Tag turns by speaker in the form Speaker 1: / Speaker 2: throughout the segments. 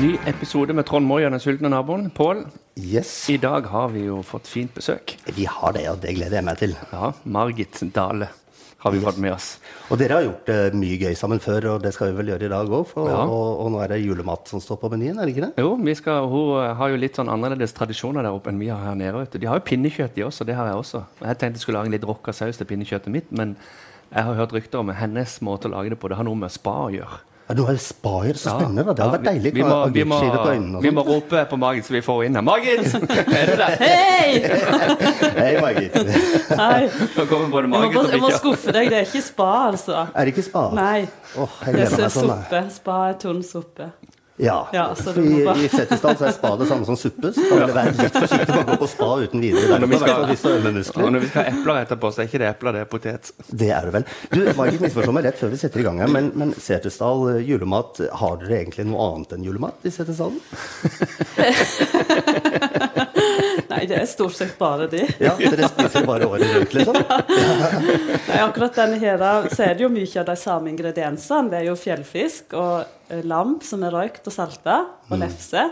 Speaker 1: Ny episode med Trond Moi og den sultne naboen. Pål,
Speaker 2: Yes,
Speaker 1: i dag har vi jo fått fint besøk.
Speaker 2: vi har det, og det gleder jeg meg til.
Speaker 1: Ja, Margit Dale har vi fått med oss.
Speaker 2: Og dere har gjort eh, mye gøy sammen før, og det skal vi vel gjøre i dag òg. Og,
Speaker 1: Ja.
Speaker 2: og, og nå er det julemat som står på menyen, er det ikke det?
Speaker 1: Jo, vi skal, Hun eh, har jo litt sånn annerledes tradisjoner der oppe enn vi har her nede. vet du. De har jo pinnekjøtt, de også. Det har jeg også. Jeg tenkte jeg skulle lage en litt rocka saus til pinnekjøttet mitt, men jeg har hørt rykter om hennes måte å lage det på. Det har noe med spa å gjøre.
Speaker 2: Ja, Nå er det spaer, så spennende. da. Det hadde vært
Speaker 1: Ja, vi-
Speaker 2: deilig
Speaker 1: Vi
Speaker 2: med
Speaker 1: må, vi, må,
Speaker 2: agurkskive på øynene. og
Speaker 1: vi må
Speaker 2: sånt.
Speaker 1: rope på Margit, så vi får henne inn her. Margit! Er du der? Hei!
Speaker 2: sånn. Hei, Margit.
Speaker 3: Nei,
Speaker 1: Nå kommer både
Speaker 3: jeg må,
Speaker 1: Margit og
Speaker 3: bare, jeg må
Speaker 1: Bikkja.
Speaker 3: skuffe deg. Det er ikke spa, altså.
Speaker 2: Er det ikke spa?
Speaker 3: Nei.
Speaker 2: Åh, jeg
Speaker 3: Det er
Speaker 2: gleder meg sånn. jeg.
Speaker 3: suppe. Spa er tunn suppe.
Speaker 2: Ja.
Speaker 3: Ja, så du
Speaker 2: I,
Speaker 3: må bare-
Speaker 2: I Setesdal så er spa det samme som suppe, så da vil jeg være litt forsiktig med å gå på spa uten videre.
Speaker 1: Når
Speaker 2: Derfor,
Speaker 1: vi
Speaker 2: i hvert fall hvis du
Speaker 1: skal,
Speaker 2: øver
Speaker 1: og
Speaker 2: muskler.
Speaker 1: når vi skal ha epler etterpå, så er ikke det epler, det er potet.
Speaker 2: Det er det vel. Du, Margit misforstår meg rett før vi setter i gang her, men, men Setesdal eh, julemat, har dere egentlig noe annet enn julemat i Setesdalen?
Speaker 3: Nei, det er stort sett bare de.
Speaker 2: Ja, dere spiser bare året rundt, liksom?
Speaker 3: Nei, akkurat denne her så er det jo mye av de samme ingrediensene. Det er jo fjellfisk og eh, lam som er røykt og salta, og lefse.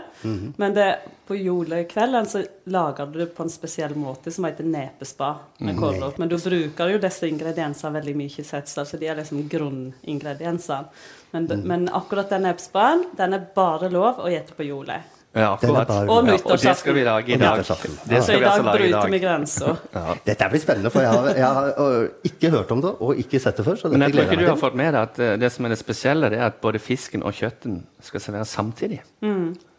Speaker 3: Men det, på julekvelden så lager du det på en spesiell måte som heter nepespa. med kålrot. Men du bruker jo disse ingrediensene veldig mye i setstall, så de er liksom grunningrediensene. Men, men akkurat den nepespaen, den er bare lov å gjete på jule.
Speaker 1: Ja,
Speaker 2: Den
Speaker 1: akkurat.
Speaker 2: er bare-
Speaker 3: Og
Speaker 1: Ja, og det
Speaker 3: nyttårsaften.
Speaker 1: skal vi lage i
Speaker 2: Og
Speaker 1: dag.
Speaker 2: nyttårsaften.
Speaker 1: Det
Speaker 3: Så
Speaker 1: skal
Speaker 3: i
Speaker 1: vi altså
Speaker 3: dag
Speaker 1: lage i
Speaker 3: bryter vi
Speaker 1: dag.
Speaker 3: grensa.
Speaker 2: Dette blir spennende, for jeg har, jeg har øh, ikke hørt om det, og ikke sett det før. Så
Speaker 1: Men
Speaker 2: dette
Speaker 1: jeg tror
Speaker 2: gleder
Speaker 1: ikke du
Speaker 2: jeg
Speaker 1: har
Speaker 2: meg til.
Speaker 1: fått med deg at eh, det som er det spesielle, det er at både fisken og kjøtten skal serveres samtidig.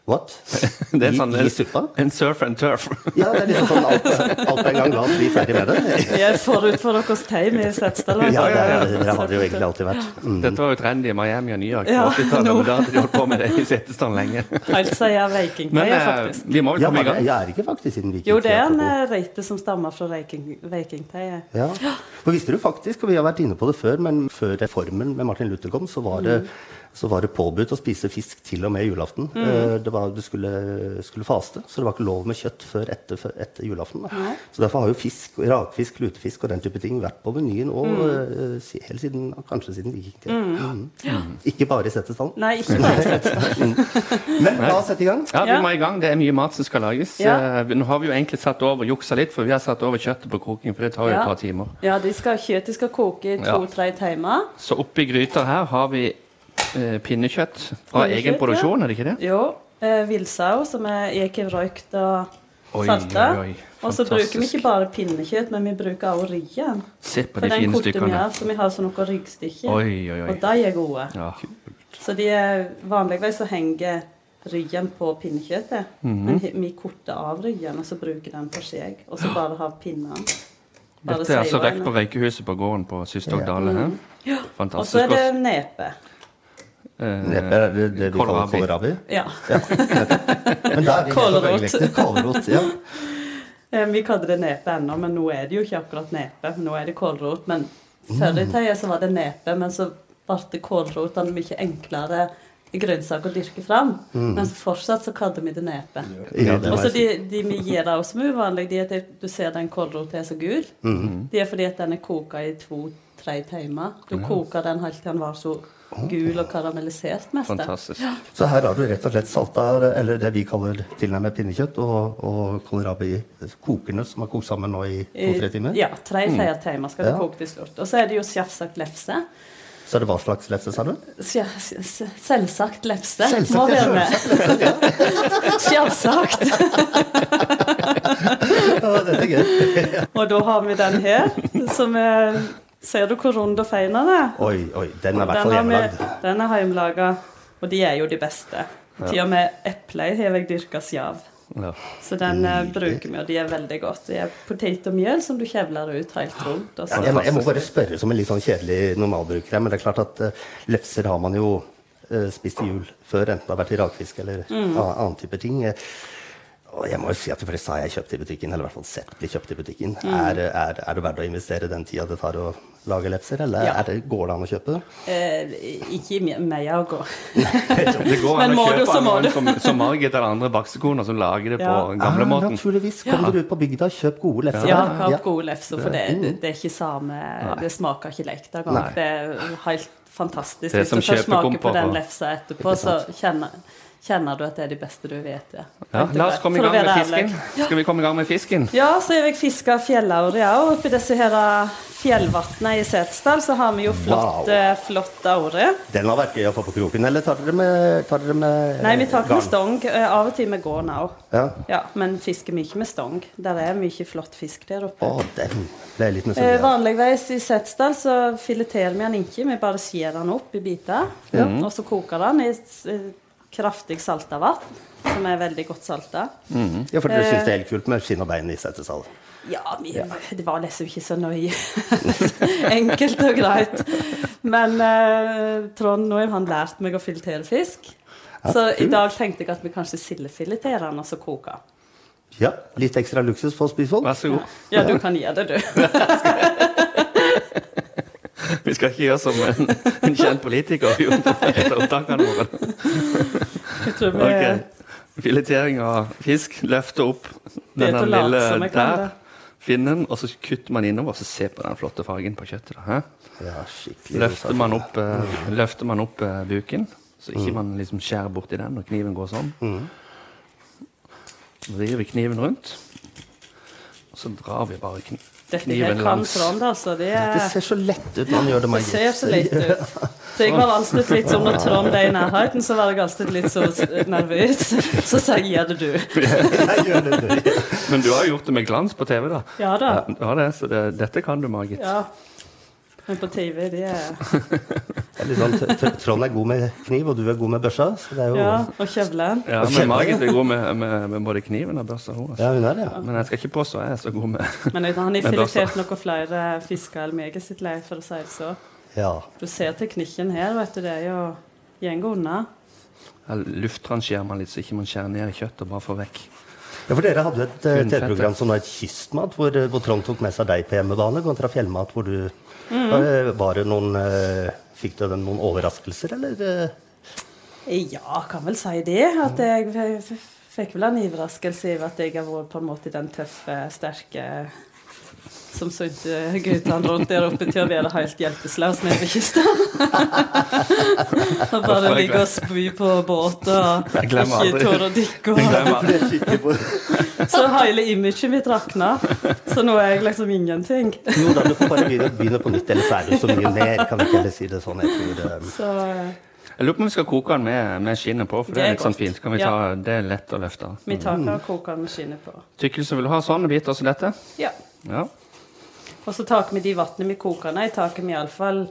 Speaker 2: What?
Speaker 1: Det er
Speaker 2: I,
Speaker 1: sånn
Speaker 2: I suppa?
Speaker 1: en, en surf and turf.
Speaker 2: Ja, det er liksom sånn alt, alt på en gang. La oss bli ferdig med det.
Speaker 3: Vi er forut for deres time i Setesdal.
Speaker 2: Ja, ja, ja, dere har det jo egentlig alltid vært. Mm.
Speaker 1: Dette var jo trendy i Miami og New York på
Speaker 3: Ja,
Speaker 1: 80-tallet,
Speaker 3: nå.
Speaker 1: men da hadde de holdt på med det i Setesdal lenge.
Speaker 3: Helt siden
Speaker 1: Men
Speaker 3: Vikingtøyet,
Speaker 1: eh,
Speaker 3: faktisk.
Speaker 1: vi må vel komme
Speaker 2: Ja,
Speaker 1: i
Speaker 2: men
Speaker 1: gang.
Speaker 2: jeg er ikke faktisk siden vi gikk
Speaker 3: Jo,
Speaker 2: ut
Speaker 3: det er
Speaker 2: i
Speaker 3: en
Speaker 2: Apropos.
Speaker 3: eh, reite som stammer fra Viking- Vikingtøyet.
Speaker 2: Ja. For visste du faktisk, og vi har vært inne på det før, men før reformen med Martin Luther kom, så var det, så var det påbudt å spise fisk til og med julaften.
Speaker 3: Mm.
Speaker 2: Eh, Det var, du skulle, skulle faste, så det var ikke lov med kjøtt før etter, før etter julaften. Da. Så derfor har jo fisk, rakfisk, lutefisk og den type ting vært på menyen og,
Speaker 3: Mm.
Speaker 2: eh, si- helt siden, kanskje siden vikingtiden. Mm. Ikke bare i Setesdalen.
Speaker 3: Nei, ikke bare Setesdal.
Speaker 2: Men la oss sette i gang.
Speaker 1: Ja, vi
Speaker 3: Ja.
Speaker 1: må i gang. Det er mye mat som skal lages.
Speaker 3: Ja.
Speaker 1: Eh, Nå har vi jo egentlig satt over juksa litt, for vi har satt over kjøttet på kroking, for det tar jo
Speaker 3: Ja.
Speaker 1: et par timer.
Speaker 3: Ja, de skal, kjøttet skal koke i to-tre timer.
Speaker 1: Så oppi gryta her har vi eh, pinnekjøtt fra
Speaker 3: Pinnekjøtt,
Speaker 1: egen produksjon,
Speaker 3: ja.
Speaker 1: er det ikke det?
Speaker 3: Jo, eh, villsaus som er ikke røykt og
Speaker 1: Oi,
Speaker 3: salta.
Speaker 1: oi, oi.
Speaker 3: Og så
Speaker 1: Fantastisk.
Speaker 3: bruker vi ikke bare pinnekjøtt, men vi bruker også ryggen.
Speaker 1: Se på
Speaker 3: For
Speaker 1: de
Speaker 3: den
Speaker 1: fine
Speaker 3: korter vi
Speaker 1: stykkene.
Speaker 3: av, så vi har sånn noen ryggstykker.
Speaker 1: Oi, oi, oi.
Speaker 3: Og de er gode.
Speaker 1: Ja.
Speaker 3: Så de er vanligvis så henger ryggen på pinnekjøttet. Men
Speaker 1: Mhm.
Speaker 3: he- vi korter av ryggen, og så bruker den for seg. Og så bare har pinnene. Bare
Speaker 1: Dette er altså
Speaker 3: seiver
Speaker 1: røkt på altså.
Speaker 3: den.
Speaker 1: Røykehuset på gården på Systog
Speaker 2: Ja.
Speaker 1: Dale. her.
Speaker 3: Og så
Speaker 1: Fantastisk.
Speaker 3: er
Speaker 1: godt.
Speaker 3: det nepe.
Speaker 1: Eh,
Speaker 2: Neppe er det, det vi kaller
Speaker 1: Kålrabi.
Speaker 2: kålrabi.
Speaker 3: Ja.
Speaker 2: Men da er vi helt på
Speaker 3: Kålrot.
Speaker 2: bølgelengde. Kålrot. Ja.
Speaker 3: Eh, Vi kaller det nepe ennå, men nå er det jo ikke akkurat nepe. Nå er det kålrot. Men før i
Speaker 1: Mm.
Speaker 3: tida så var det nepe, men så ble kålrotene mye enklere grønnsak å dyrke fram.
Speaker 1: Mm.
Speaker 3: Men så fortsatt så kaller vi det nepe.
Speaker 2: Ja, det
Speaker 3: Og
Speaker 2: var
Speaker 3: så de, de vi gir deg som er uvanlig, de er at du ser den kålroten er så gul.
Speaker 2: Mhm.
Speaker 3: Det er fordi at den er koka i to-tre timer. Du koker den helt til den var så gul og karamellisert mest.
Speaker 1: Fantastisk.
Speaker 2: Så her har du rett og slett salta, eller det vi kaller tilnærmet pinnekjøtt, og, og kålrabi kokende, som har kokt sammen nå i to-tre timer.
Speaker 3: Eh,
Speaker 2: Mm.
Speaker 3: Ja, tre-fire timer skal du
Speaker 2: Ja.
Speaker 3: koke til slutt. Og så er det jo sjafsagt lefse.
Speaker 2: Så er det hva slags lefse, sa du?
Speaker 3: Sja- s- s- Selvsagt lefse.
Speaker 2: Selvsagt,
Speaker 3: Må
Speaker 2: ja,
Speaker 3: være med. Sjølsagt.
Speaker 2: Ja, dette er gøy.
Speaker 3: Og da har vi den her, som er Ser du hvor rund og fin den er?
Speaker 2: Oi, oi, den er i hvert fall
Speaker 3: Den har vi-
Speaker 2: hjemmelagd.
Speaker 3: Den er hjemmelaga, og de er jo de beste. Til og med eple har jeg dyrka sjav.
Speaker 1: Ja.
Speaker 3: Så den eh, bruker vi, og de er veldig godt. Det er potet og mjøl som du kjevler ut helt rundt. Og
Speaker 2: Ja,
Speaker 3: så.
Speaker 2: jeg, må- jeg må bare spørre som en litt sånn kjedelig normalbruker her, men det er klart at eh, lefser har man jo eh, spist i jul før, enten det har vært i rakfisk eller
Speaker 3: Mm.
Speaker 2: a- annen type ting. Eh, Og jeg må jo si at de fleste har jeg kjøpt i butikken, eller i hvert fall sett bli kjøpt i butikken.
Speaker 3: Mm.
Speaker 2: Er, er, er det verdt å investere den tida det tar å lage lefser, eller
Speaker 3: Ja.
Speaker 2: er det, går det an å kjøpe det?
Speaker 3: Eh, ikke i meia å gå.
Speaker 1: Det går an
Speaker 3: Men
Speaker 1: å
Speaker 3: må
Speaker 1: kjøpe
Speaker 3: du, så må
Speaker 1: noen
Speaker 3: du.
Speaker 1: som, som Margit eller andre baksekoner som lager det på
Speaker 3: Ja.
Speaker 2: Ah,
Speaker 1: gamlemåten.
Speaker 2: naturligvis. Kom dere ut på bygda, kjøp gode lefser.
Speaker 3: Ja,
Speaker 2: der.
Speaker 3: kap gode lefser, for det, det, det er ikke samme Det smaker ikke lekt engang.
Speaker 2: Mm. Nei.
Speaker 3: Det er helt fantastisk.
Speaker 1: Det er
Speaker 3: Hvis
Speaker 1: som
Speaker 3: du først smaker
Speaker 1: kjøpekomper,
Speaker 3: på den
Speaker 1: og-
Speaker 3: lefsa etterpå, så kjenner kjenner du at det er de beste du vet. Ja.
Speaker 1: Ja, la oss komme i
Speaker 3: For å
Speaker 1: gang med
Speaker 3: være
Speaker 1: fisken.
Speaker 3: ærlig.
Speaker 1: Skal vi komme i gang med fisken?
Speaker 3: Ja, så har jeg fiska fjellaure òg. Oppi disse her eh, fjellvatnene i Setesdal så har vi jo
Speaker 2: Wow.
Speaker 3: flott, eh, flott aure.
Speaker 2: Den har vært gøy å få på kroken. Eller tar dere med, tar dere med
Speaker 3: Nei, vi tar ikke med
Speaker 2: garn?
Speaker 3: stong. eh, Av og til med gården òg.
Speaker 2: Ja.
Speaker 3: Ja, men fisker vi ikke med stong. Der er mye flott fisk der
Speaker 2: Å,
Speaker 3: oppe.
Speaker 2: den ble jeg litt
Speaker 3: Eh,
Speaker 2: misunnelig. av.
Speaker 3: Vanligvis i Setesdal så fileterer vi den ikke. Vi bare skjærer den opp i biter. Og så koker den i s- eh, kraftig salta vann, som er veldig godt salta.
Speaker 2: Ja, for dere
Speaker 3: Eh.
Speaker 2: syns det er helt kult med skinn og bein i setesal?
Speaker 3: Ja, vi, det var liksom ikke så nøye. Enkelt og greit. Men eh, Trond nå har han lært meg å filetere fisk. Så i dag tenkte jeg at vi kanskje sildefileterer den og så koker. den.
Speaker 2: Ja, litt ekstra luksus på Spisvoll?
Speaker 1: Vær så god.
Speaker 3: Ja, du kan gjøre det, du.
Speaker 1: Vi skal ikke gjøre som en, en kjent politiker. Vi etter opptakene våre.
Speaker 3: Jeg tror vi
Speaker 1: Ok. Filetering av fisk. Løfte opp
Speaker 3: Det er
Speaker 1: denne
Speaker 3: til å late
Speaker 1: lille
Speaker 3: som jeg kan
Speaker 1: der.
Speaker 3: det.
Speaker 1: Finnen, og så kutter man innover, så se på den flotte fargen på kjøttet. da, hæ?
Speaker 2: Ja, skikkelig.
Speaker 1: Løfter man opp, eh, løfter man opp eh, buken, så ikke man liksom skjærer borti den, og kniven går sånn. Vrir vi kniven rundt, og så drar vi bare kn
Speaker 3: Dette her
Speaker 1: kniven
Speaker 3: kan
Speaker 1: langs.
Speaker 3: Trond, altså. Det,
Speaker 2: Det ser så lett ut når man gjør det
Speaker 3: det
Speaker 2: med
Speaker 3: ser så lett ut. Så jeg var alltid litt sånn når Trond er i nærheten, så var jeg alltid litt så s- nervøs. Så sa jeg 'gjør det, du'.
Speaker 2: Jeg gjør det, du.
Speaker 1: Men du har jo gjort det med glans på TV, da.
Speaker 3: Ja da.
Speaker 1: Ja, det, så det, dette kan du, Margit.
Speaker 3: Ja. Men på TV, det er
Speaker 2: Det er litt sånn, Tr- Tr- Trond er god med kniv, og du er god med børsa. Så det er jo
Speaker 3: Ja, og kjevlen.
Speaker 1: Ja, men Margit er god med, med, med både kniven og børsa. hun, altså.
Speaker 2: Ja, hun er det, ja.
Speaker 1: Men jeg skal ikke påstå jeg er så god med
Speaker 3: Men uten han har
Speaker 1: Men altså-
Speaker 3: filetert noen flere fisker enn meg i sitt liv, for å si det så.
Speaker 2: ja.
Speaker 3: Du ser teknikken her, vet du, det er jo gjengen unna.
Speaker 1: Jeg luftrangerer man litt, så ikke man skjærer ned i kjøttet og bare får vekk.
Speaker 2: Ja, for Dere hadde et eh,
Speaker 1: Kun fett,
Speaker 2: TV-program
Speaker 1: ja.
Speaker 2: som var et kystmat, hvor, eh, hvor Trond tok med seg deg på hjemmebane kontra fjellmat. hvor du... Eh,
Speaker 3: Mm.
Speaker 2: Var det noen, eh, Fikk du den noen overraskelser, eller? eh?
Speaker 3: Ja, kan vel si det. At jeg f- f- fikk vel en overraskelse over at jeg har vært på en måte den tøffe, sterke som sendte guttene rundt der oppe til å være helt hjelpeløse nede ved kysten. og bare ligge og spy på båt og
Speaker 1: Jeg glemmer aldri.
Speaker 3: ikke tåre å dykke. og-
Speaker 1: Glemmer.
Speaker 3: Så hele imaget mitt rakna. Så nå er jeg liksom ingenting.
Speaker 2: Jo da, du får bare begynne, begynne på nytt, ellers er det jo så mye mer. Kan vi ikke heller si det sånn? Jeg tror, eh,
Speaker 3: Så eh,
Speaker 1: Jeg lurer på om vi skal koke den med, med skinnet på, for det
Speaker 3: Det
Speaker 1: er
Speaker 3: er
Speaker 1: litt sånn
Speaker 3: godt.
Speaker 1: fint. Kan vi ta, Det er lett å løfte.
Speaker 3: vi tar ikke og koker den med skinnet på.
Speaker 1: Tykkelse vil du ha sånne biter som dette?
Speaker 3: Ja.
Speaker 1: Ja.
Speaker 3: Og så tar vi de vannene vi koker den i, tar vi iallfall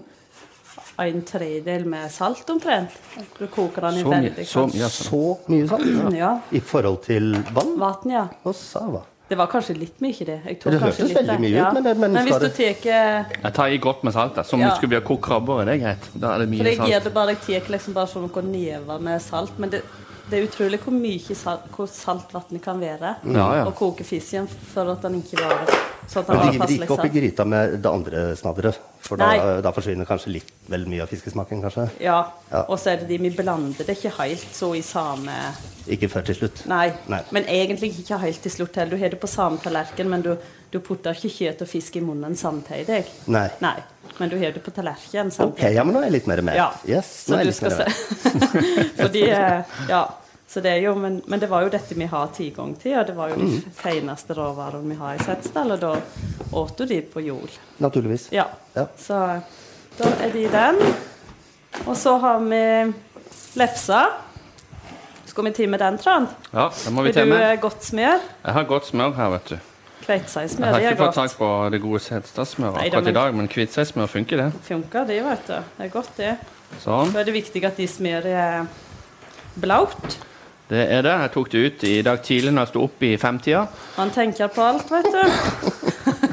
Speaker 3: en tredjedel med salt omtrent. Du koker den i
Speaker 1: Så mye.
Speaker 3: veldig
Speaker 1: Så
Speaker 3: kaldt.
Speaker 1: mye altså.
Speaker 2: Så mye sånn?
Speaker 3: Mm, Ja.
Speaker 2: I forhold til vann?
Speaker 3: Vann, ja.
Speaker 2: Og sava.
Speaker 3: Det var kanskje litt mye, det. Jeg tok
Speaker 2: Det
Speaker 3: kanskje
Speaker 2: hørtes
Speaker 3: litt
Speaker 2: veldig
Speaker 3: der.
Speaker 2: mye ut, men det- men
Speaker 3: hvis
Speaker 2: skal
Speaker 3: du tar
Speaker 1: Jeg tar i godt med salt. da. Som om
Speaker 3: Ja.
Speaker 1: du skulle vi ha kokt krabber. Det er greit. Da er det
Speaker 3: For
Speaker 1: mye
Speaker 3: jeg gjør
Speaker 1: salt.
Speaker 3: det bare, jeg tar liksom bare sånn noen never med salt. Men det, det er utrolig hvor mye salt, hvor salt vannet kan være.
Speaker 1: Ja, ja.
Speaker 3: Og koke fisken for at den ikke varer. Så at den
Speaker 2: Men
Speaker 3: bare
Speaker 2: driver de
Speaker 3: passer
Speaker 2: ikke
Speaker 3: litt
Speaker 2: opp i
Speaker 3: salt.
Speaker 2: gryta med det andre snadderet? For da,
Speaker 3: Nei.
Speaker 2: da forsvinner kanskje litt vel mye av fiskesmaken, kanskje?
Speaker 3: Ja.
Speaker 2: Ja.
Speaker 3: Og så er det de vi blander det ikke helt så i samme
Speaker 2: Ikke før til slutt?
Speaker 3: Nei.
Speaker 2: Nei.
Speaker 3: Men egentlig ikke helt til slutt heller. Du har det på samme tallerken, men du, du putter ikke kjøtt og fisk i munnen samtidig.
Speaker 2: Nei.
Speaker 3: Men du har det på tallerken
Speaker 2: Ok,
Speaker 3: samtidig.
Speaker 2: ja, men nå er jeg litt mer med.
Speaker 3: Ja.
Speaker 2: Yes, nå
Speaker 3: så
Speaker 2: er
Speaker 3: du
Speaker 2: jeg litt
Speaker 3: skal
Speaker 2: mer med.
Speaker 3: se. Fordi eh, Ja. Så det er jo, men, men det var jo dette vi har tilgang til, og det var jo
Speaker 2: Mm.
Speaker 3: de fineste råvarene vi har i Setesdal, og da åt jo de på jord.
Speaker 2: Naturligvis.
Speaker 3: Ja.
Speaker 2: Ja.
Speaker 3: Så da er de den. Og så har vi lefsa. Skal vi time den, Trond?
Speaker 1: Ja, det må vi
Speaker 3: Vil du
Speaker 1: til med.
Speaker 3: eh, godt smør?
Speaker 1: Jeg har godt smør her, vet du. Jeg
Speaker 3: Kveiteseigsmør,
Speaker 1: har
Speaker 3: det er
Speaker 1: ikke fått tak
Speaker 3: godt.
Speaker 1: på det gode Setesdalsmøret
Speaker 3: Neida,
Speaker 1: akkurat i
Speaker 3: men-
Speaker 1: dag, men hvitseigsmør funker, det.
Speaker 3: Funker det, vet du. Det er godt, det.
Speaker 1: Sånn.
Speaker 3: Da er det viktig at de eh, smøret er blaut.
Speaker 1: Det er det. Jeg tok det ut i dag tidlig når jeg sto opp i femtida.
Speaker 3: Man tenker på alt, vet du.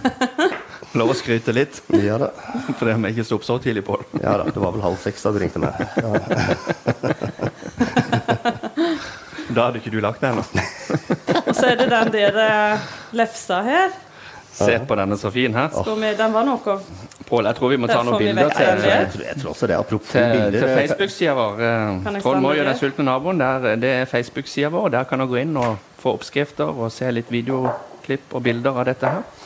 Speaker 1: Lov å skryte litt,
Speaker 2: Ja da.
Speaker 1: fordi vi ikke sto opp så tidlig på det.
Speaker 2: ja da. Det var vel halv seks da du ringte meg. Ja.
Speaker 1: Da hadde ikke du lagt deg ennå.
Speaker 3: Og så er det den der eh, lefsa her.
Speaker 1: Se på denne så fin her.
Speaker 3: Skal vi- Den var noe
Speaker 1: Pål, jeg tror vi må ta
Speaker 3: Der
Speaker 1: noen
Speaker 3: får vi
Speaker 1: bilder
Speaker 3: vekk
Speaker 1: til,
Speaker 3: den der.
Speaker 2: Jeg, tror, jeg tror også det. Apropos
Speaker 1: til,
Speaker 2: bilder
Speaker 1: til
Speaker 2: eh,
Speaker 1: Facebook-sida vår.
Speaker 3: Kan
Speaker 1: eh,
Speaker 3: jeg
Speaker 1: Trond
Speaker 3: stemme
Speaker 1: Moi og
Speaker 3: det?
Speaker 1: Den sultne naboen, der, eh, det er Facebook-sida vår. Der kan dere gå inn og få oppskrifter og se litt videoklipp og bilder av dette her.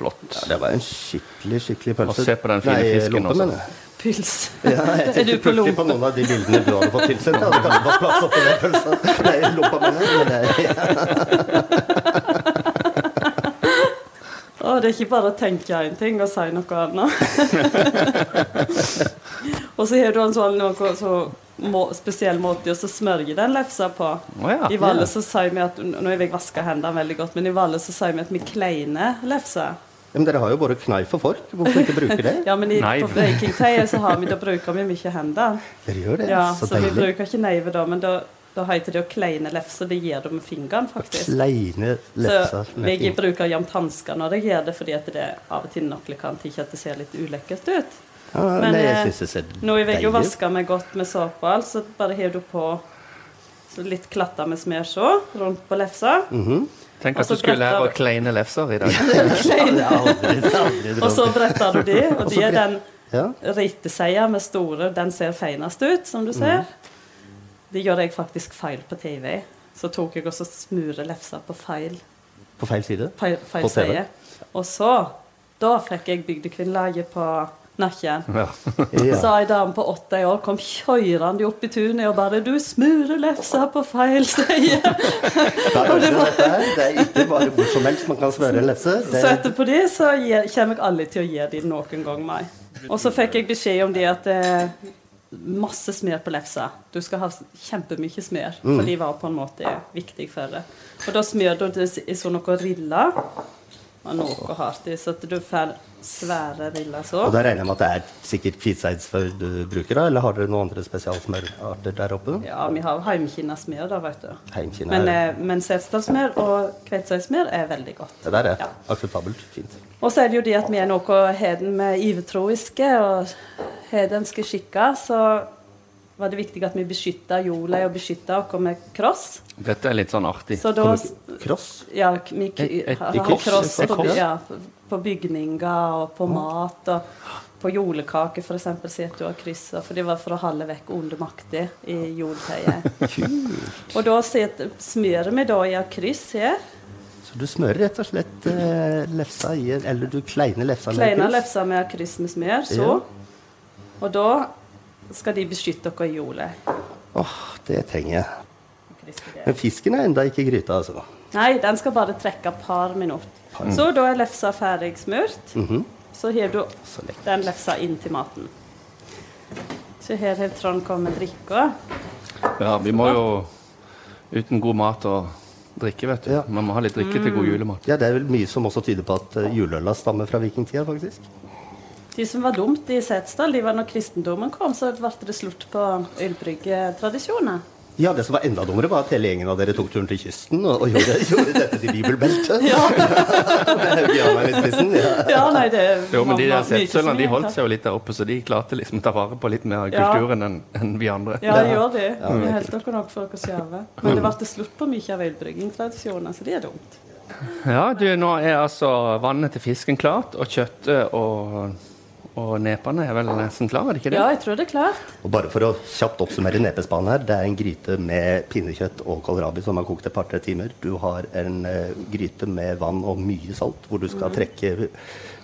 Speaker 1: Flott.
Speaker 2: Det var en skikkelig, skikkelig
Speaker 1: Og
Speaker 2: pølse.
Speaker 1: se på den fine
Speaker 2: Nei,
Speaker 1: fisken
Speaker 2: lompe,
Speaker 1: også.
Speaker 2: mener jeg.
Speaker 3: Pils.
Speaker 2: Ja, jeg
Speaker 3: Er du
Speaker 2: tenkte
Speaker 3: på
Speaker 2: plutselig på
Speaker 3: lompe?
Speaker 2: noen av de bildene du hadde fått tilsendt. Jeg hadde kanskje fått plass oppi den pølsa. Nei, lompa mener jeg, men det er-
Speaker 3: Å, det er ikke bare å tenke én ting og si noe annet. og så har du en sånn noe, så må, spesiell måte å smørge den lefsa på.
Speaker 1: Å ja.
Speaker 3: I Valle så sier vi at Nå har jeg vaska hendene veldig godt, men i Valle så sier vi at vi kleiner lefser.
Speaker 2: Ja, Men dere har jo både kneif og fork. Hvorfor ikke bruke det?
Speaker 3: Ja, men i,
Speaker 1: Nei.
Speaker 3: på bakingtøyet så har vi, da bruker vi mye hender.
Speaker 2: Dere gjør det.
Speaker 3: Ja,
Speaker 2: så
Speaker 3: så, vi
Speaker 2: deilig.
Speaker 3: bruker ikke neive da, men da, da heter det å kleine lefser. Det gjør du med fingeren, faktisk.
Speaker 2: Kleine
Speaker 3: Så
Speaker 2: lefser. med
Speaker 3: jeg
Speaker 2: fingre.
Speaker 3: bruker jevnt hansker når jeg gjør det, fordi at det av og til nok kan til at det ser litt ulekkert ut.
Speaker 2: Ja,
Speaker 3: men,
Speaker 2: nei, jeg
Speaker 3: eh,
Speaker 2: syns det ser
Speaker 3: Nå har jeg jo
Speaker 2: deilig ut.
Speaker 3: vaska meg godt med såpe, og alt, så bare har du på så litt klatter med smørså rundt på lefsa.
Speaker 2: Mhm.
Speaker 1: Tenk
Speaker 3: Og
Speaker 1: at
Speaker 3: så
Speaker 1: du skulle lære å
Speaker 3: bretter-
Speaker 1: kleine lefser i dag.
Speaker 2: Det er aldri, det er aldri
Speaker 3: Og så bretter du de, og
Speaker 2: Og så
Speaker 3: de er
Speaker 2: bret-
Speaker 3: den
Speaker 2: ja.
Speaker 3: riteseia med store, den ser feinest ut, som du ser.
Speaker 2: Mhm.
Speaker 3: Det gjør jeg faktisk feil på TV. Så tok jeg også smure lefsa på feil,
Speaker 2: På feil side.
Speaker 3: feil, feil
Speaker 2: På TV?
Speaker 3: seie. Og så, da fikk jeg bygdekvinnelaget på nakken.
Speaker 1: Ja.
Speaker 2: Ja.
Speaker 3: sa ei dame på åtte år, kom kjørende opp i tunet og bare 'Du smurer lefsa på feil side'.
Speaker 2: Da gjør dere dette her. Det er ikke bare hvor som helst man kan smøre en lefse.
Speaker 3: Så
Speaker 2: Det,
Speaker 3: etterpå det så gir- kommer jeg aldri til å gi dem noen gang mer. Og så fikk jeg beskjed om det at eh, masse smør på lefsa. Du skal ha s- kjempemye smør,
Speaker 2: Mm.
Speaker 3: for de var på en måte viktig for det. Og da smør du det s- i sånn noe riller og noe hardt i, så at du får svære riller så.
Speaker 2: og da regner jeg med at det er sikkert hvitseidsfør du bruker, da? Eller har dere noen andre spesialsmørarter der oppe?
Speaker 3: Ja, vi har heimkinnasmør da, vet du.
Speaker 2: Heimkinna
Speaker 3: Men,
Speaker 2: er-
Speaker 3: eh, men setesdalsmør og kveitseismør er veldig godt.
Speaker 2: Det der er
Speaker 3: Ja.
Speaker 2: akseptabelt. Fint.
Speaker 3: Og så er det jo det at vi er noe heden med ivetroiske og hedenske skikker, så var det viktig at vi beskytta jorda og beskytta oss med kross.
Speaker 1: Dette er litt sånn artig.
Speaker 3: Så da
Speaker 2: Kommer ikke- Kross?
Speaker 3: ja, vi k-
Speaker 1: Et- et-
Speaker 3: har
Speaker 1: et
Speaker 3: har
Speaker 1: kross,
Speaker 3: kross
Speaker 1: et
Speaker 3: på, by-
Speaker 1: kross.
Speaker 3: ja, på bygninger og på mat og på julekaker, f.eks. sier at du har kryssa, for det var for å holde vekk onde makter i jordtøyet. Og da set- smører vi da i et kryss her.
Speaker 2: Så du smører rett og slett eh, lefsa i en Eller du kleiner lefsa med
Speaker 3: Kleine
Speaker 2: kryss.
Speaker 3: lefser med kryss med smør, så. Og da skal de beskytte dere i jorda.
Speaker 2: Åh, det trenger jeg.
Speaker 3: Kryss i det.
Speaker 2: Men fisken er enda ikke i gryta, altså.
Speaker 3: Nei, den skal bare trekke et par minutter.
Speaker 2: Mm.
Speaker 3: Så da er lefsa ferdig smurt. Så har du
Speaker 2: Mhm. Så lekkert.
Speaker 3: den lefsa inn til maten. Så her har Trond kommet drikka.
Speaker 1: Ja, vi må jo uten god mat og drikke, vet du.
Speaker 2: Ja.
Speaker 1: Man må ha litt drikke til
Speaker 3: Mm.
Speaker 1: god julemat.
Speaker 2: Ja, det er vel mye som også tyder på at eh, juleøla stammer fra vikingtida, faktisk.
Speaker 3: De som var dumt i Setesdal, de var når kristendommen kom, så ble det slutt på ølbryggetradisjoner.
Speaker 2: Ja, det som var enda dummere, var at hele gjengen av dere tok turen til kysten og, og gjorde, gjorde dette til bibelbeltet.
Speaker 3: Ja.
Speaker 2: Med Hauge Hamar i spissen. Ja.
Speaker 3: Ja, nei, det
Speaker 1: Jo, men de der
Speaker 3: var mye som
Speaker 1: settsølene de
Speaker 3: gikk
Speaker 1: holdt
Speaker 3: her.
Speaker 1: seg jo litt der oppe, så de klarte liksom å ta vare på litt mer av
Speaker 3: Ja.
Speaker 1: kulturen enn enn vi andre.
Speaker 3: Ja, det gjør det.
Speaker 2: Ja, det
Speaker 3: Vi
Speaker 2: er
Speaker 3: holdt dere nok for dere sjøle. Men det ble slutt på mye av ølbryggingtradisjoner, så det er dumt.
Speaker 1: Ja, du, nå er altså vannet til fisken klart, og kjøttet og, og nepene er vel nesten klar, er det ikke det?
Speaker 3: Ja, jeg tror det er klart.
Speaker 2: Og bare for å kjapt oppsummere nepespanen her, det er en gryte med pinnekjøtt og kålrabi som har kokt et par-tre timer. Du har en eh, gryte med vann og mye salt, hvor du skal trekke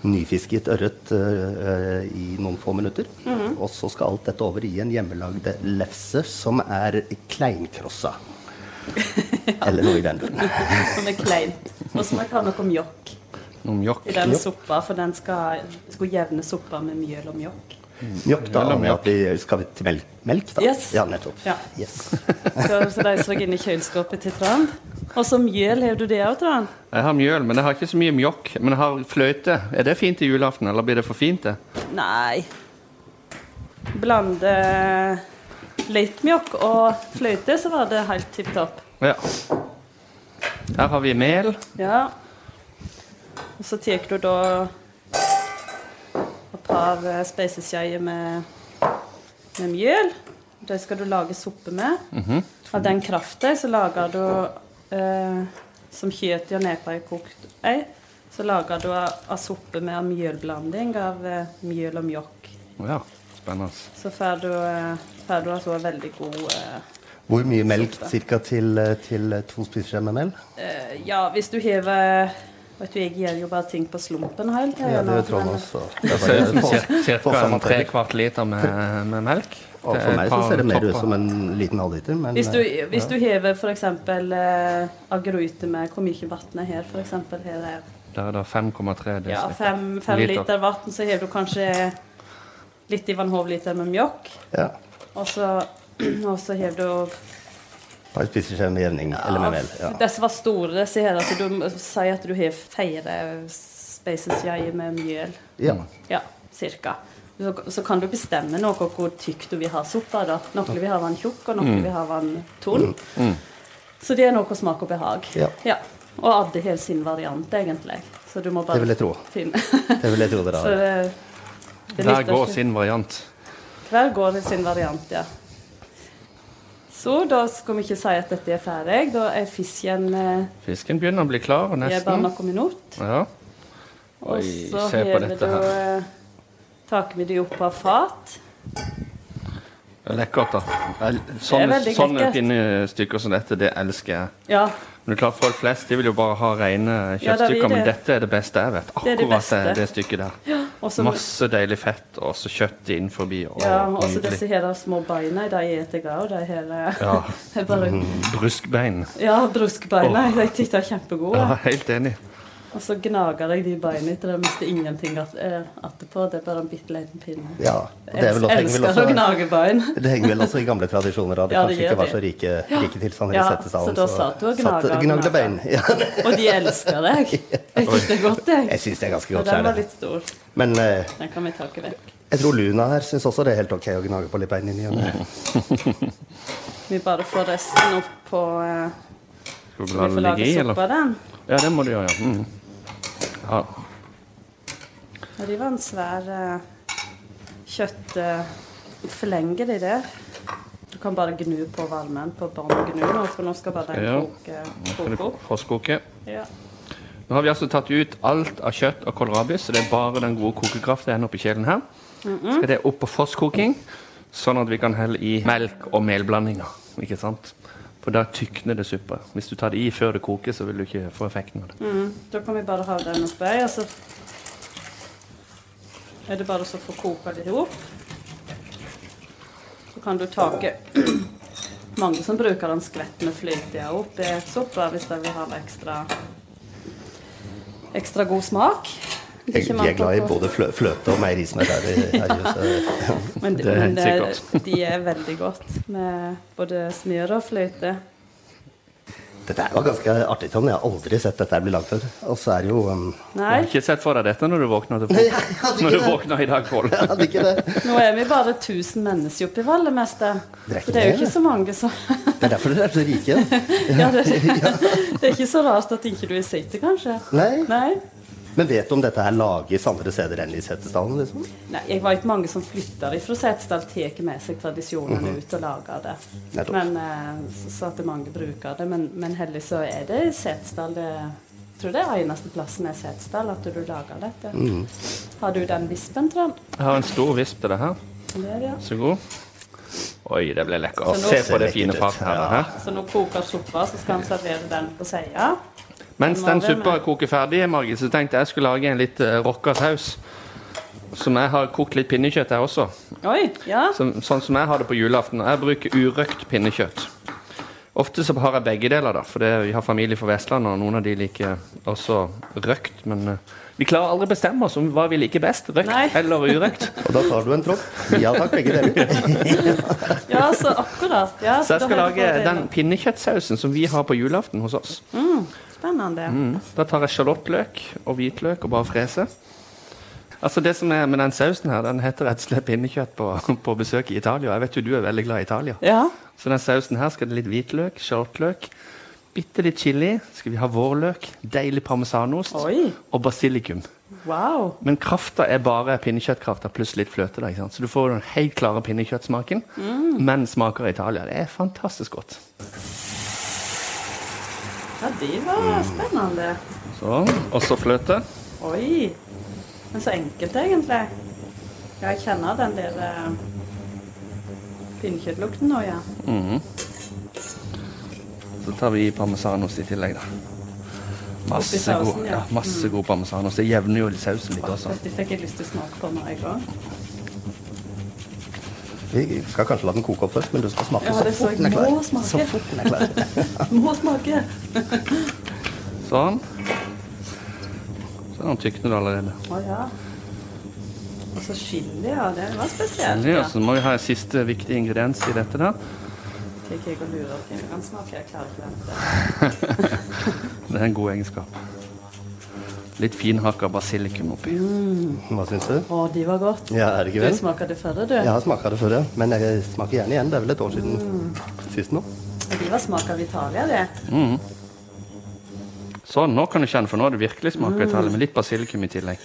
Speaker 2: nyfisket ørret eh, eh, i noen få minutter.
Speaker 3: Mhm.
Speaker 2: Og så skal alt dette over i en hjemmelagd lefse som er kleinkrossa. Eller noe i den duren.
Speaker 3: Som er kleint. Og så må jeg ha noe mjokk
Speaker 1: Noe mjokk.
Speaker 3: i den suppa, for den skal, skal jevne suppa med mjøl og mjokk.
Speaker 2: Mjokk, da aner jeg at vi skal vi til melk, melk da.
Speaker 3: Yes.
Speaker 2: Ja, nettopp.
Speaker 3: Ja.
Speaker 2: Yes.
Speaker 3: Så, så de slår inn i kjøleskapet til Trond. Og så mjøl har du det òg, Trond.
Speaker 1: Jeg har mjøl, men jeg har ikke så mye mjokk. Men jeg har fløyte. Er det fint til julaften, eller blir det for fint, det?
Speaker 3: Nei. Blande litt mjokk og fløyte, så var det helt tipp topp.
Speaker 1: Ja. Her har vi mel.
Speaker 3: Ja. Og så tar du da et par eh, spiseskjeer med, med mjøl. Det skal du lage suppe med. Av den kraften så lager du eh, Som kjøttet og nepa er kokt ei, så lager du av av suppe med en mjølblanding av eh, mjøl og mjokk.
Speaker 1: Å Ja, spennende.
Speaker 3: Så får du, eh, får du altså en veldig god eh,
Speaker 2: Hvor mye melk cirka til, eh, til eh, to spiseskjeer med mel?
Speaker 3: Eh, ja, hvis du hever Vet du, jeg gir jo bare ting på slumpen hele tiden.
Speaker 2: Ja, det
Speaker 3: nå,
Speaker 2: tror altså. jeg
Speaker 3: men- eh,
Speaker 2: også.
Speaker 1: Det ser ut som
Speaker 2: På
Speaker 1: ca.
Speaker 2: samme
Speaker 1: en
Speaker 2: tre.
Speaker 1: trekvart liter med, med melk.
Speaker 2: Og
Speaker 1: Det er
Speaker 2: for meg så
Speaker 1: par
Speaker 2: ser det mer ut
Speaker 1: topper.
Speaker 2: som en liten halvliter. Men
Speaker 3: Hvis du,
Speaker 2: eh,
Speaker 3: hvis du hever f.eks. Eh, agurute med hvor mye vann er her, f.eks. Her er
Speaker 1: Der er det 5,3 dl.
Speaker 3: ja, fem, fem
Speaker 1: Liter.
Speaker 3: liter, vann, så hever du kanskje litt i vannhovliter med mjølk.
Speaker 2: eh, ja,
Speaker 3: Og så, og så hever du
Speaker 2: bare spiser seg med jevning. Eller med mel. Ja.
Speaker 3: Disse var store, disse her. Altså, du må si at du har fire spaces jai med mjøl.
Speaker 2: Ja.
Speaker 3: Ja, cirka. Så, så kan du bestemme noe hvor tykk du vil ha suppa. da. Noe vil ha den tjukk, og
Speaker 2: Mm.
Speaker 3: noe vil ha den tunn. Så det er noe smak og behag.
Speaker 2: Ja.
Speaker 3: Og Adde har sin variant, egentlig. Så du må bare
Speaker 2: Det vil jeg tro.
Speaker 3: finne
Speaker 2: Det vil jeg tro dere
Speaker 3: Så
Speaker 2: har.
Speaker 3: det, det
Speaker 1: Der
Speaker 3: nytter
Speaker 1: går
Speaker 3: ikke.
Speaker 1: sin variant.
Speaker 3: Hver går sin variant, ja. Så da skal vi ikke si at dette er ferdig. Da er fisken eh,
Speaker 1: Fisken begynner å bli klar, og
Speaker 3: i bare
Speaker 1: nesten.
Speaker 3: noen minutter.
Speaker 1: Ja. Oi,
Speaker 3: Og så
Speaker 1: se på
Speaker 3: hever
Speaker 1: dette
Speaker 3: du
Speaker 1: her.
Speaker 3: eh, Tar vi det opp av fat.
Speaker 1: Lekkert, da. Sånne,
Speaker 3: veldig
Speaker 1: sånne
Speaker 3: lekkert.
Speaker 1: pinnestykker som dette, det elsker jeg.
Speaker 3: Ja,
Speaker 1: Men det er klart, Folk flest de vil jo bare ha rene
Speaker 3: Ja, da vil
Speaker 1: kjøttstykker, men
Speaker 3: det.
Speaker 1: dette er det beste jeg vet.
Speaker 3: Det er det
Speaker 1: Akkurat det,
Speaker 3: beste.
Speaker 1: det stykket der.
Speaker 3: og så
Speaker 1: Masse deilig fett og så kjøtt innenfor. Og
Speaker 3: Ja, og så disse
Speaker 1: nydelig.
Speaker 3: her små beina, de eter jeg òg. De her eh,
Speaker 1: Ja,
Speaker 3: er bare
Speaker 2: Mm.
Speaker 1: Bruskbein.
Speaker 3: Ja, bruskbeina. Jeg syns de er kjempegode.
Speaker 1: Ja, helt enig.
Speaker 3: Og så gnager jeg de beina til det mister ingenting att- eh, attpå. Det er bare en bitte liten pinne.
Speaker 2: Ja. og Det, er vel også, henger vel
Speaker 3: Elsker å
Speaker 2: også,
Speaker 3: gnage bein.
Speaker 2: det henger vel også i gamle tradisjoner at det
Speaker 3: Ja, det
Speaker 2: kanskje
Speaker 3: gjør
Speaker 2: ikke var
Speaker 3: det.
Speaker 2: så rike, rike tilstander
Speaker 3: Ja,
Speaker 2: i settesalen.
Speaker 3: så da satt du og
Speaker 2: satt-
Speaker 3: gnaga og
Speaker 2: gnagde
Speaker 3: gnaga.
Speaker 2: bein. Ja,
Speaker 3: Og de elsker deg. Jeg syns det er godt, jeg.
Speaker 2: jeg syns det er ganske
Speaker 3: Og
Speaker 2: godt. så er
Speaker 3: den var
Speaker 2: det.
Speaker 3: litt stor.
Speaker 2: Men eh,
Speaker 3: Den kan vi ta ikke vekk.
Speaker 2: jeg tror Luna her syns også det er helt ok å gnage på litt bein inni.
Speaker 3: Vi bare får resten opp på eh,
Speaker 1: Skal vi
Speaker 3: Vi
Speaker 1: la
Speaker 3: får
Speaker 1: den ligge
Speaker 3: lage
Speaker 1: i,
Speaker 3: suppe
Speaker 1: eller?
Speaker 3: av den.
Speaker 1: Ja, det må du gjøre, ja. Mm. ja.
Speaker 3: Og det var en svær eh, uh, kjøttflenge i det. Du kan bare gnu på varmen på bånn gnu nå, for nå skal bare den
Speaker 1: Ja.
Speaker 3: koke,
Speaker 1: Nå skal
Speaker 3: koke
Speaker 1: du
Speaker 3: opp.
Speaker 1: frostkoke.
Speaker 3: Ja.
Speaker 1: Nå har vi altså tatt ut alt av kjøtt og kålrabi, så det er bare den gode kokekraften igjen oppi kjelen her. Skal det opp på frostkoking, sånn at vi kan helle i melk og melblandinger. Ikke sant? For da tykner det suppa. Hvis du tar det i før det koker, så vil du ikke få effekten av det.
Speaker 3: mm. Da kan vi bare ha den oppi, og så er det bare så å få koke det ihop. Så kan du take Mange som bruker en skvett med flyte opp i suppa hvis de vil ha ekstra ekstra god smak.
Speaker 2: Jeg,
Speaker 3: Ikke
Speaker 2: jeg er
Speaker 3: manko
Speaker 2: glad i
Speaker 3: på-
Speaker 2: både flø, fløte og meierismør her i her i huset.
Speaker 3: Men,
Speaker 1: Det er helt
Speaker 3: men det,
Speaker 1: sikkert.
Speaker 3: de er veldig godt med både smør og fløte.
Speaker 2: Dette her var ganske artig, Tom. Jeg har aldri sett dette her bli lagd før. Og så er det jo um,
Speaker 1: Jeg
Speaker 3: Nei,
Speaker 1: har ikke sett for deg dette når du våkner, til
Speaker 2: Nei,
Speaker 1: frokost.
Speaker 2: jeg hadde
Speaker 1: når
Speaker 2: ikke
Speaker 1: du
Speaker 2: det.
Speaker 1: våkner i dag, Pål.
Speaker 2: Jeg hadde ikke det.
Speaker 3: nå er vi bare 1000 mennesker oppe i Vallemester.
Speaker 2: Det er ikke
Speaker 3: Det er jo
Speaker 2: mer,
Speaker 3: ikke
Speaker 2: det.
Speaker 3: så mange som
Speaker 2: Det er derfor dere er så rike.
Speaker 3: ja, det, det er ikke så rart at ikke du sitter, kanskje.
Speaker 2: Nei.
Speaker 3: Nei.
Speaker 2: Men vet du om dette her lages andre steder enn i Setesdalen? Liksom?
Speaker 3: Nei, jeg vet mange som flytter fra Setesdal, tar med seg tradisjonene ut og lager det.
Speaker 2: Mhm. Nettopp.
Speaker 3: Men, eh, så- så at det mange bruker det. Men, men heldigvis så er det i Setesdal det jeg tror det er eneste plassen er Setesdal at du lager dette.
Speaker 2: Mhm.
Speaker 3: Har du den vispen, Trond?
Speaker 1: Jeg har en stor visp til det her.
Speaker 3: Det er det, ja.
Speaker 1: Så god. Oi, det ble lekkert.
Speaker 2: Så nå-
Speaker 1: Se på det
Speaker 2: Ser
Speaker 1: fine
Speaker 2: lekkert ut,
Speaker 1: fartfarvet
Speaker 2: ja.
Speaker 1: her.
Speaker 3: Så nå koker suppa, så skal han servere den på seia.
Speaker 1: Mens
Speaker 3: Den
Speaker 1: den
Speaker 3: var det
Speaker 1: suppa
Speaker 3: med.
Speaker 1: koker ferdig, Margit, så tenkte jeg jeg skulle lage en litt uh, rocka saus. Som jeg har kokt litt pinnekjøtt, jeg også.
Speaker 3: Oi, ja.
Speaker 1: Som, sånn som jeg har det på julaften. Og Jeg bruker urøkt pinnekjøtt. Ofte så har jeg begge deler, da, for det, vi har familie fra Vestlandet, og noen av de liker også røkt. Men eh, vi klarer aldri å bestemme oss om hva vi liker best, røkt
Speaker 3: Nei.
Speaker 1: eller urøkt.
Speaker 2: Og da tar du en tropp. Ja takk, begge deler.
Speaker 3: ja, så akkurat. Ja,
Speaker 1: Så jeg
Speaker 3: da
Speaker 1: skal
Speaker 3: har du
Speaker 1: lage
Speaker 3: fordelen.
Speaker 1: den pinnekjøttsausen som vi har på julaften hos oss.
Speaker 3: Spennende.
Speaker 1: Da tar jeg sjalottløk og hvitløk og bare freser. Altså Det som er med den sausen her, den heter rett og slett pinnekjøtt på, på besøk i Italia. Jeg vet jo du er veldig glad i Italia.
Speaker 3: Ja.
Speaker 1: Så den sausen her skal det litt hvitløk, sjalottløk, bitte litt chili, skal vi ha vårløk, deilig parmesanost
Speaker 3: Oi.
Speaker 1: og basilikum.
Speaker 3: Wow.
Speaker 1: Men krafta er bare pinnekjøttkrafta pluss litt fløte. da, ikke sant? Så du får den helt klare pinnekjøttsmaken,
Speaker 3: Mm.
Speaker 1: men smaker Italia. Det er fantastisk godt.
Speaker 3: Ja, det var
Speaker 1: Mm.
Speaker 3: spennende.
Speaker 1: Sånn. Også fløte.
Speaker 3: Oi. Men så enkelt, egentlig. Ja, jeg kjenner den der eh, pinnekjøttlukten nå, ja.
Speaker 1: Så tar vi parmesanost i tillegg, da. Masse
Speaker 3: Oppi
Speaker 1: god,
Speaker 3: sausen, ja.
Speaker 1: ja, masse god parmesan. Og så jevner jo sausen litt også.
Speaker 3: Dette fikk jeg lyst til å smake på nå, jeg òg.
Speaker 2: Vi skal kanskje la den koke opp først, men du skal smake
Speaker 3: Ja,
Speaker 2: så
Speaker 3: det så
Speaker 2: fort
Speaker 3: jeg
Speaker 2: den er
Speaker 3: må
Speaker 2: klar.
Speaker 3: smake.
Speaker 2: Så fort den er klar.
Speaker 3: Må smake.
Speaker 1: Sånn. Så er den tyknet allerede.
Speaker 3: Å ja. Og så chili, ja. Det var spesielt.
Speaker 1: Ja,
Speaker 3: Ja.
Speaker 1: så må vi ha en siste viktig ingrediens i dette. da.
Speaker 3: Fikk jeg å lure på hva den smaker. Jeg klarer ikke å vente.
Speaker 1: Det er en god egenskap. Litt finhakka basilikum oppi.
Speaker 2: Hva syns du?
Speaker 3: Å, de var godt.
Speaker 2: Ja, er det ikke
Speaker 3: Du
Speaker 2: vel?
Speaker 3: smaker det før, du.
Speaker 2: Jeg har smaka det før, ja. Men jeg smaker gjerne igjen. Det er vel et år siden
Speaker 3: Mm.
Speaker 2: sist nå.
Speaker 3: De var smak av Italia, det.
Speaker 1: Sånn, nå kan du kjenne, for nå har det virkelig smakt mm. Italia, med litt basilikum i tillegg.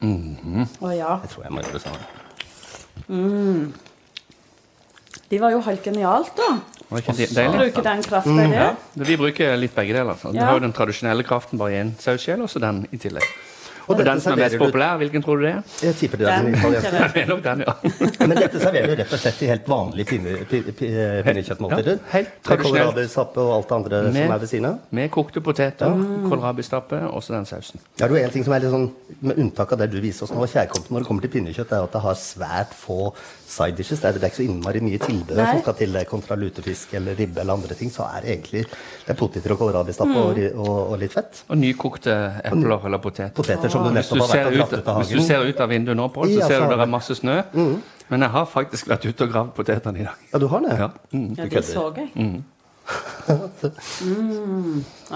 Speaker 3: Å ja.
Speaker 2: Jeg tror jeg må gjøre det samme.
Speaker 3: De var jo helt genialt, da.
Speaker 1: Var ikke det
Speaker 3: Å
Speaker 1: deilig?
Speaker 3: bruke den kraften
Speaker 2: Mm.
Speaker 3: i det.
Speaker 1: Ja, det- vi bruker litt begge deler. Så. Du
Speaker 3: Ja.
Speaker 1: har jo den tradisjonelle kraften bare i en sauskjel, og så den i tillegg.
Speaker 2: Og
Speaker 1: Og
Speaker 2: dette
Speaker 1: den som er mest
Speaker 2: serverer du-
Speaker 1: populær, hvilken tror du det er?
Speaker 2: Jeg tipper det er
Speaker 3: Den
Speaker 2: den italienske.
Speaker 3: tenker jeg.
Speaker 1: Det er nok den, ja.
Speaker 2: Men dette serverer du rett og slett i helt vanlige pinne- pi- pi- eh, pinnekjøttmåltider?
Speaker 1: Ja, helt
Speaker 2: Med
Speaker 1: tradisjonelt.
Speaker 2: kålrabisappe og alt det andre som
Speaker 1: Med-
Speaker 2: er ved siden av?
Speaker 1: Med kokte poteter, kålrabistappe og så den sausen.
Speaker 2: Ja, det er jo en ting som er litt sånn, Med unntak av det du viser oss nå, kjærkomsten når det kommer til pinnekjøtt, er jo at det har svært få side dishes. Det er, det er ikke så innmari mye tilbehør
Speaker 3: Nei.
Speaker 2: som skal til eh, kontra lutefisk eller ribbe eller andre ting. Så er det egentlig det er poteter og
Speaker 3: Mm.
Speaker 2: kålrabistappe og, ri- og, og litt fett.
Speaker 1: Og nykokte epler eller poteter.
Speaker 2: Poteter som du
Speaker 1: Hvis du,
Speaker 2: nettopp har
Speaker 1: ser
Speaker 2: vært og
Speaker 1: ut,
Speaker 2: dratt ut av
Speaker 1: hvis du
Speaker 2: hagen.
Speaker 1: ser ut av vinduet nå, Pål, så
Speaker 2: Ja,
Speaker 1: ser
Speaker 2: så
Speaker 1: du det er
Speaker 2: har
Speaker 1: masse snø. Men jeg har faktisk vært ute og gravd potetene i dag.
Speaker 2: Ja, du har det?
Speaker 1: Ja. Mm.
Speaker 3: Ja,
Speaker 2: Du
Speaker 3: de
Speaker 2: kødder.
Speaker 3: så jeg. Mm. Ja,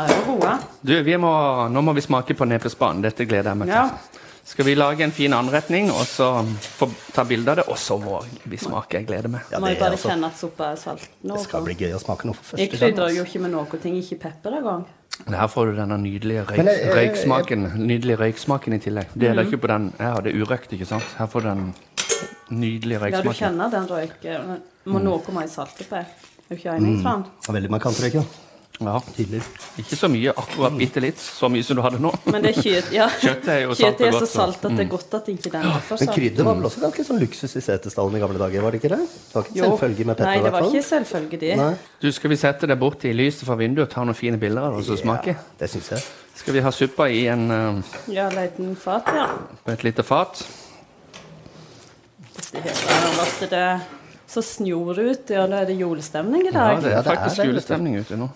Speaker 3: det var gode.
Speaker 1: Du, vi må, nå må vi smake på nepespanen. Dette gleder jeg meg til.
Speaker 3: Ja.
Speaker 1: Skal vi lage en fin anretning og så få ta bilde av det, og så må vi smake. Jeg gleder meg.
Speaker 2: Ja,
Speaker 3: Må
Speaker 2: det,
Speaker 3: jeg
Speaker 2: er
Speaker 3: bare
Speaker 2: altså,
Speaker 3: kjenne at suppa er salt. Nå,
Speaker 2: det skal bli gøy å smake noe for
Speaker 3: Jeg
Speaker 2: første gang.
Speaker 3: krydrer jo
Speaker 2: altså.
Speaker 3: ikke med noe ting, ikke pepper engang.
Speaker 1: Men Her får du denne nydelige røyk,
Speaker 2: Men jeg- jeg-
Speaker 1: røyksmaken, nydelige røyksmaken i tillegg. Det er det ikke på den ja, det er urøkt, ikke sant? Her får du den nydelige
Speaker 3: Ja, du
Speaker 1: røyksmaken.
Speaker 3: kjenner den røyken. men Må
Speaker 1: Mm.
Speaker 3: noe mer salte på. Er du ikke enig, Trond?
Speaker 2: Det er Veldig markant røyk, ja.
Speaker 1: Ja,
Speaker 2: Tydelig.
Speaker 1: ikke så mye, akkurat bitte litt. Så mye som du hadde nå.
Speaker 3: Men det er kjøtt, ja.
Speaker 1: Kjøttet er jo salt og
Speaker 3: Kjøttet er så
Speaker 1: godt, så- Mm.
Speaker 3: salt at det er godt at ikke den er for
Speaker 2: Men
Speaker 3: salt.
Speaker 2: krydder var vel også ganske sånn luksus i Setesdalen i gamle dager, var det ikke det? Det var ikke
Speaker 3: Jo.
Speaker 2: selvfølgelig med
Speaker 3: Nei,
Speaker 2: Petter, i
Speaker 3: det
Speaker 2: hvert
Speaker 3: var
Speaker 2: fall.
Speaker 3: ikke selvfølge, de.
Speaker 2: Nei.
Speaker 1: Du, Skal vi sette det bort i lyset fra vinduet og ta noen fine bilder av det og så smake?
Speaker 2: Ja, det syns jeg.
Speaker 1: Skal vi ha suppa i en, eh,
Speaker 3: Ja, liten fat, ja.
Speaker 1: på et lite fat?
Speaker 3: Det hele vært det så snor ut, ja, da er det julestemning i
Speaker 1: Ja,
Speaker 3: dag.
Speaker 1: det er
Speaker 2: Ja, det er
Speaker 1: faktisk
Speaker 2: det, vet du.
Speaker 1: julestemning ute nå.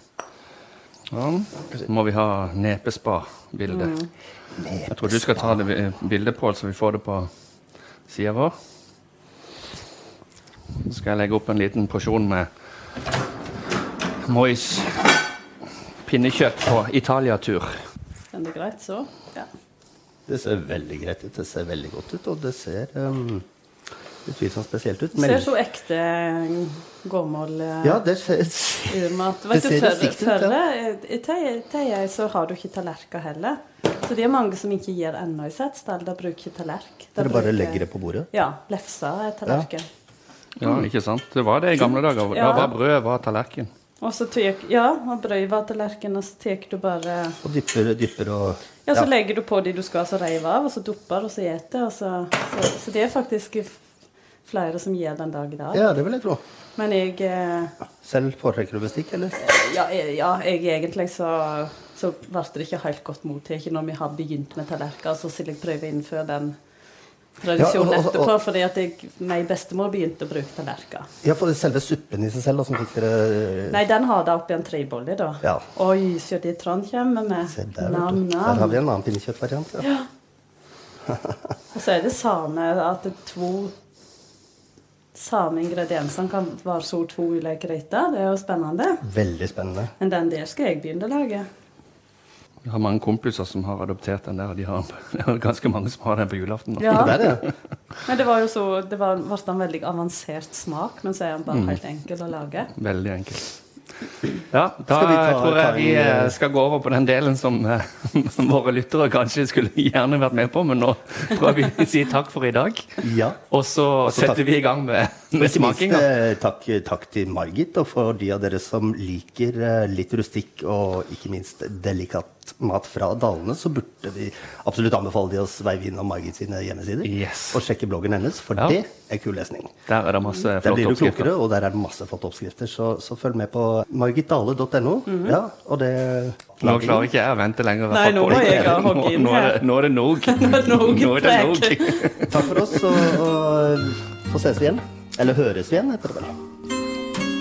Speaker 1: Sånn. Så må vi ha nepespa-bilde.
Speaker 3: Mm.
Speaker 1: Jeg tror du skal ta det bi- bildet, Pål, så vi får det på sida vår. Så skal jeg legge opp en liten porsjon med Mois pinnekjøtt på Italia-tur.
Speaker 3: Er det greit så? Ja.
Speaker 2: Det ser veldig greit ut. Det ser veldig godt ut, og det ser um, utvilsomt spesielt ut.
Speaker 3: Ser
Speaker 2: Men,
Speaker 3: så ekte gammel eh,
Speaker 2: ja, det ser Nei,
Speaker 3: Urmat.
Speaker 2: Det
Speaker 3: Vet du,
Speaker 2: ser
Speaker 3: før,
Speaker 2: riktig ut,
Speaker 3: før
Speaker 2: ja.
Speaker 3: eh, i Tei- Tei så har du ikke tallerkener heller. Så det er mange som ikke gir ennå i Setesdal. De bruker tallerk. De
Speaker 2: Dere bare
Speaker 3: bruker-
Speaker 2: legger det på bordet?
Speaker 3: Ja. Lefsa er tallerken.
Speaker 1: Ja, ikke sant? Det var det i gamle dager. Da
Speaker 3: Ja.
Speaker 1: var brød var tallerken.
Speaker 3: Og så tek, ja, og brød var tallerken, og så tar du bare
Speaker 2: Og dypper, dypper og
Speaker 3: Ja, så legger du på de du skal, så reiver av, og så dupper, og så eter, og så, så Så det er faktisk f- flere som gir den dag i dag.
Speaker 2: ja, det vil jeg tro.
Speaker 3: Men jeg eh,
Speaker 2: Selv foretrekker du bestikk, eller?
Speaker 3: Ja, jeg, ja, jeg egentlig så så ble det ikke helt godt mottatt når vi har begynt med tallerkener. Så skulle jeg prøve å innføre den tradisjonen
Speaker 2: Ja, og- og-
Speaker 3: etterpå, fordi at jeg, nei, bestemor begynte å bruke tallerkener.
Speaker 2: Ja, for selve suppen i seg selv, og som fikk dere
Speaker 3: Nei, den har det oppi en trebolle, da.
Speaker 2: Ja.
Speaker 3: Oi, se det Trond kommer
Speaker 2: Se
Speaker 3: med.
Speaker 2: der, vet
Speaker 3: Nam,
Speaker 2: du. Der har
Speaker 3: nam.
Speaker 2: vi en annen pinnekjøttvariant. Ja.
Speaker 3: Og så er det samme at det er to samme ingredienser kan være så to ulike retter. Det er jo spennende.
Speaker 2: Veldig spennende.
Speaker 3: Men den der skal jeg begynne å lage.
Speaker 1: Jeg har mange kompiser som har adoptert den der. og De har, det er ganske mange som har den på julaften. nå.
Speaker 3: Ja.
Speaker 2: Det der, ja.
Speaker 3: Men det var jo så, det var, ble en veldig avansert smak, men så er den bare helt enkel å lage.
Speaker 1: Veldig enkelt. Ja, da
Speaker 2: Skal vi ta-
Speaker 1: tror
Speaker 2: ta
Speaker 1: jeg
Speaker 2: en,
Speaker 1: vi eh,
Speaker 2: eh,
Speaker 1: skal gå over på den delen som eh, våre lyttere kanskje skulle gjerne vært med på, men nå tror jeg vi sier takk for i dag.
Speaker 2: ja.
Speaker 1: Og så setter
Speaker 2: takk.
Speaker 1: vi i gang med, med
Speaker 2: Ikke minst,
Speaker 1: smakinga.
Speaker 2: eh, takk, takk til Margit, og for de av dere som liker eh, litt rustikk og ikke minst delikat litt mat fra dalene, så burde vi absolutt anbefale de å sveive innom Margit sine hjemmesider
Speaker 1: Yes.
Speaker 2: og sjekke bloggen hennes, for
Speaker 1: Ja.
Speaker 2: det er kul lesning.
Speaker 1: Der er det masse
Speaker 2: Der
Speaker 1: flotte
Speaker 2: blir du
Speaker 1: oppskrifter.
Speaker 2: klokere, og der er det masse flotte oppskrifter. Så, så følg med på margitdale.no. ja, og det
Speaker 1: Mhm. Nå klarer ikke jeg å vente lenger.
Speaker 3: Nei, nå må jeg ha
Speaker 1: Nå-
Speaker 3: hogget inn
Speaker 1: nå er
Speaker 3: her.
Speaker 1: det- Nå er det nog.
Speaker 3: Nog
Speaker 1: Nå er det
Speaker 3: prek.
Speaker 1: nog.
Speaker 2: Takk for oss, og, og så ses vi igjen. Eller høres vi igjen, heter det vel.